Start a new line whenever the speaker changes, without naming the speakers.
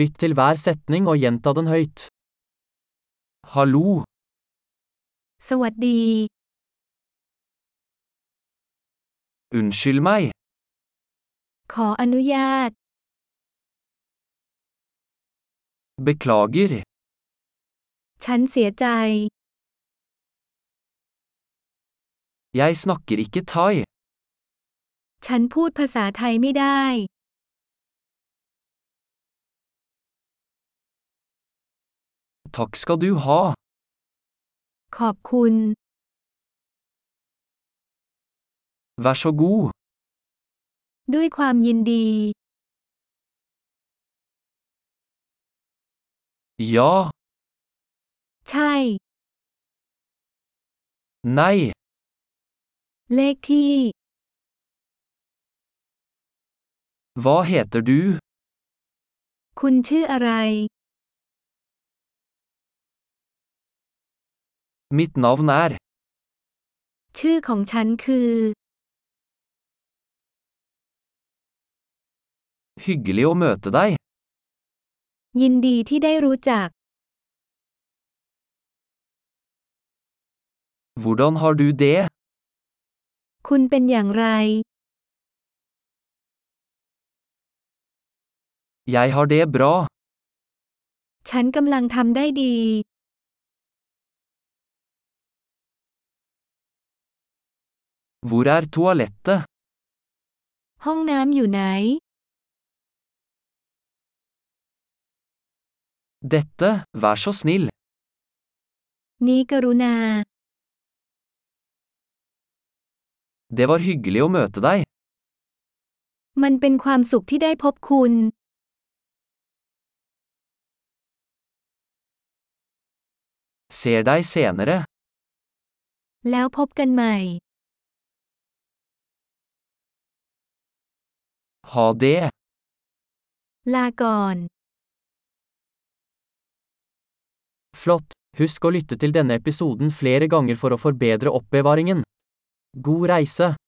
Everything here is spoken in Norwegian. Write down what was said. Lytt til hver setning og gjenta den høyt. Hallo,
สวัสดี
unnskyld meg,
ขออนุญาต
beklager,
ฉันเสียใจ
jeg snakker ikke thai,
ฉันพูดภาษาไทยไม่ได้
takk skal du ha,
ขอบคุณ
vær så god,
ด้วยความยินดี
ja,
ใช่
nei,
เลขที่
hva heter du,
คุณชื่ออะไร
mitt navn er,
ชื่อของฉันคือ
hyggelig å møte deg,
ยินดีที่ได้รู้จัก
hvordan har du det,
คุณเป็นอย่างไร
jeg har det bra,
ฉันกำลังทำได้ดี
hvor er toalettet,
ห้องน้ำอยู่ไหน
dette, vær så snill,
นี้กรุณา
det var hyggelig å møte deg,
มันเป็นความสุขที่ได้พบคุณ
ser deg senere,
แล้วพบกันใหม่
ha det,
ลาก่อน
flott, husk å lytte til denne episoden flere ganger for å forbedre oppbevaringen. God reise!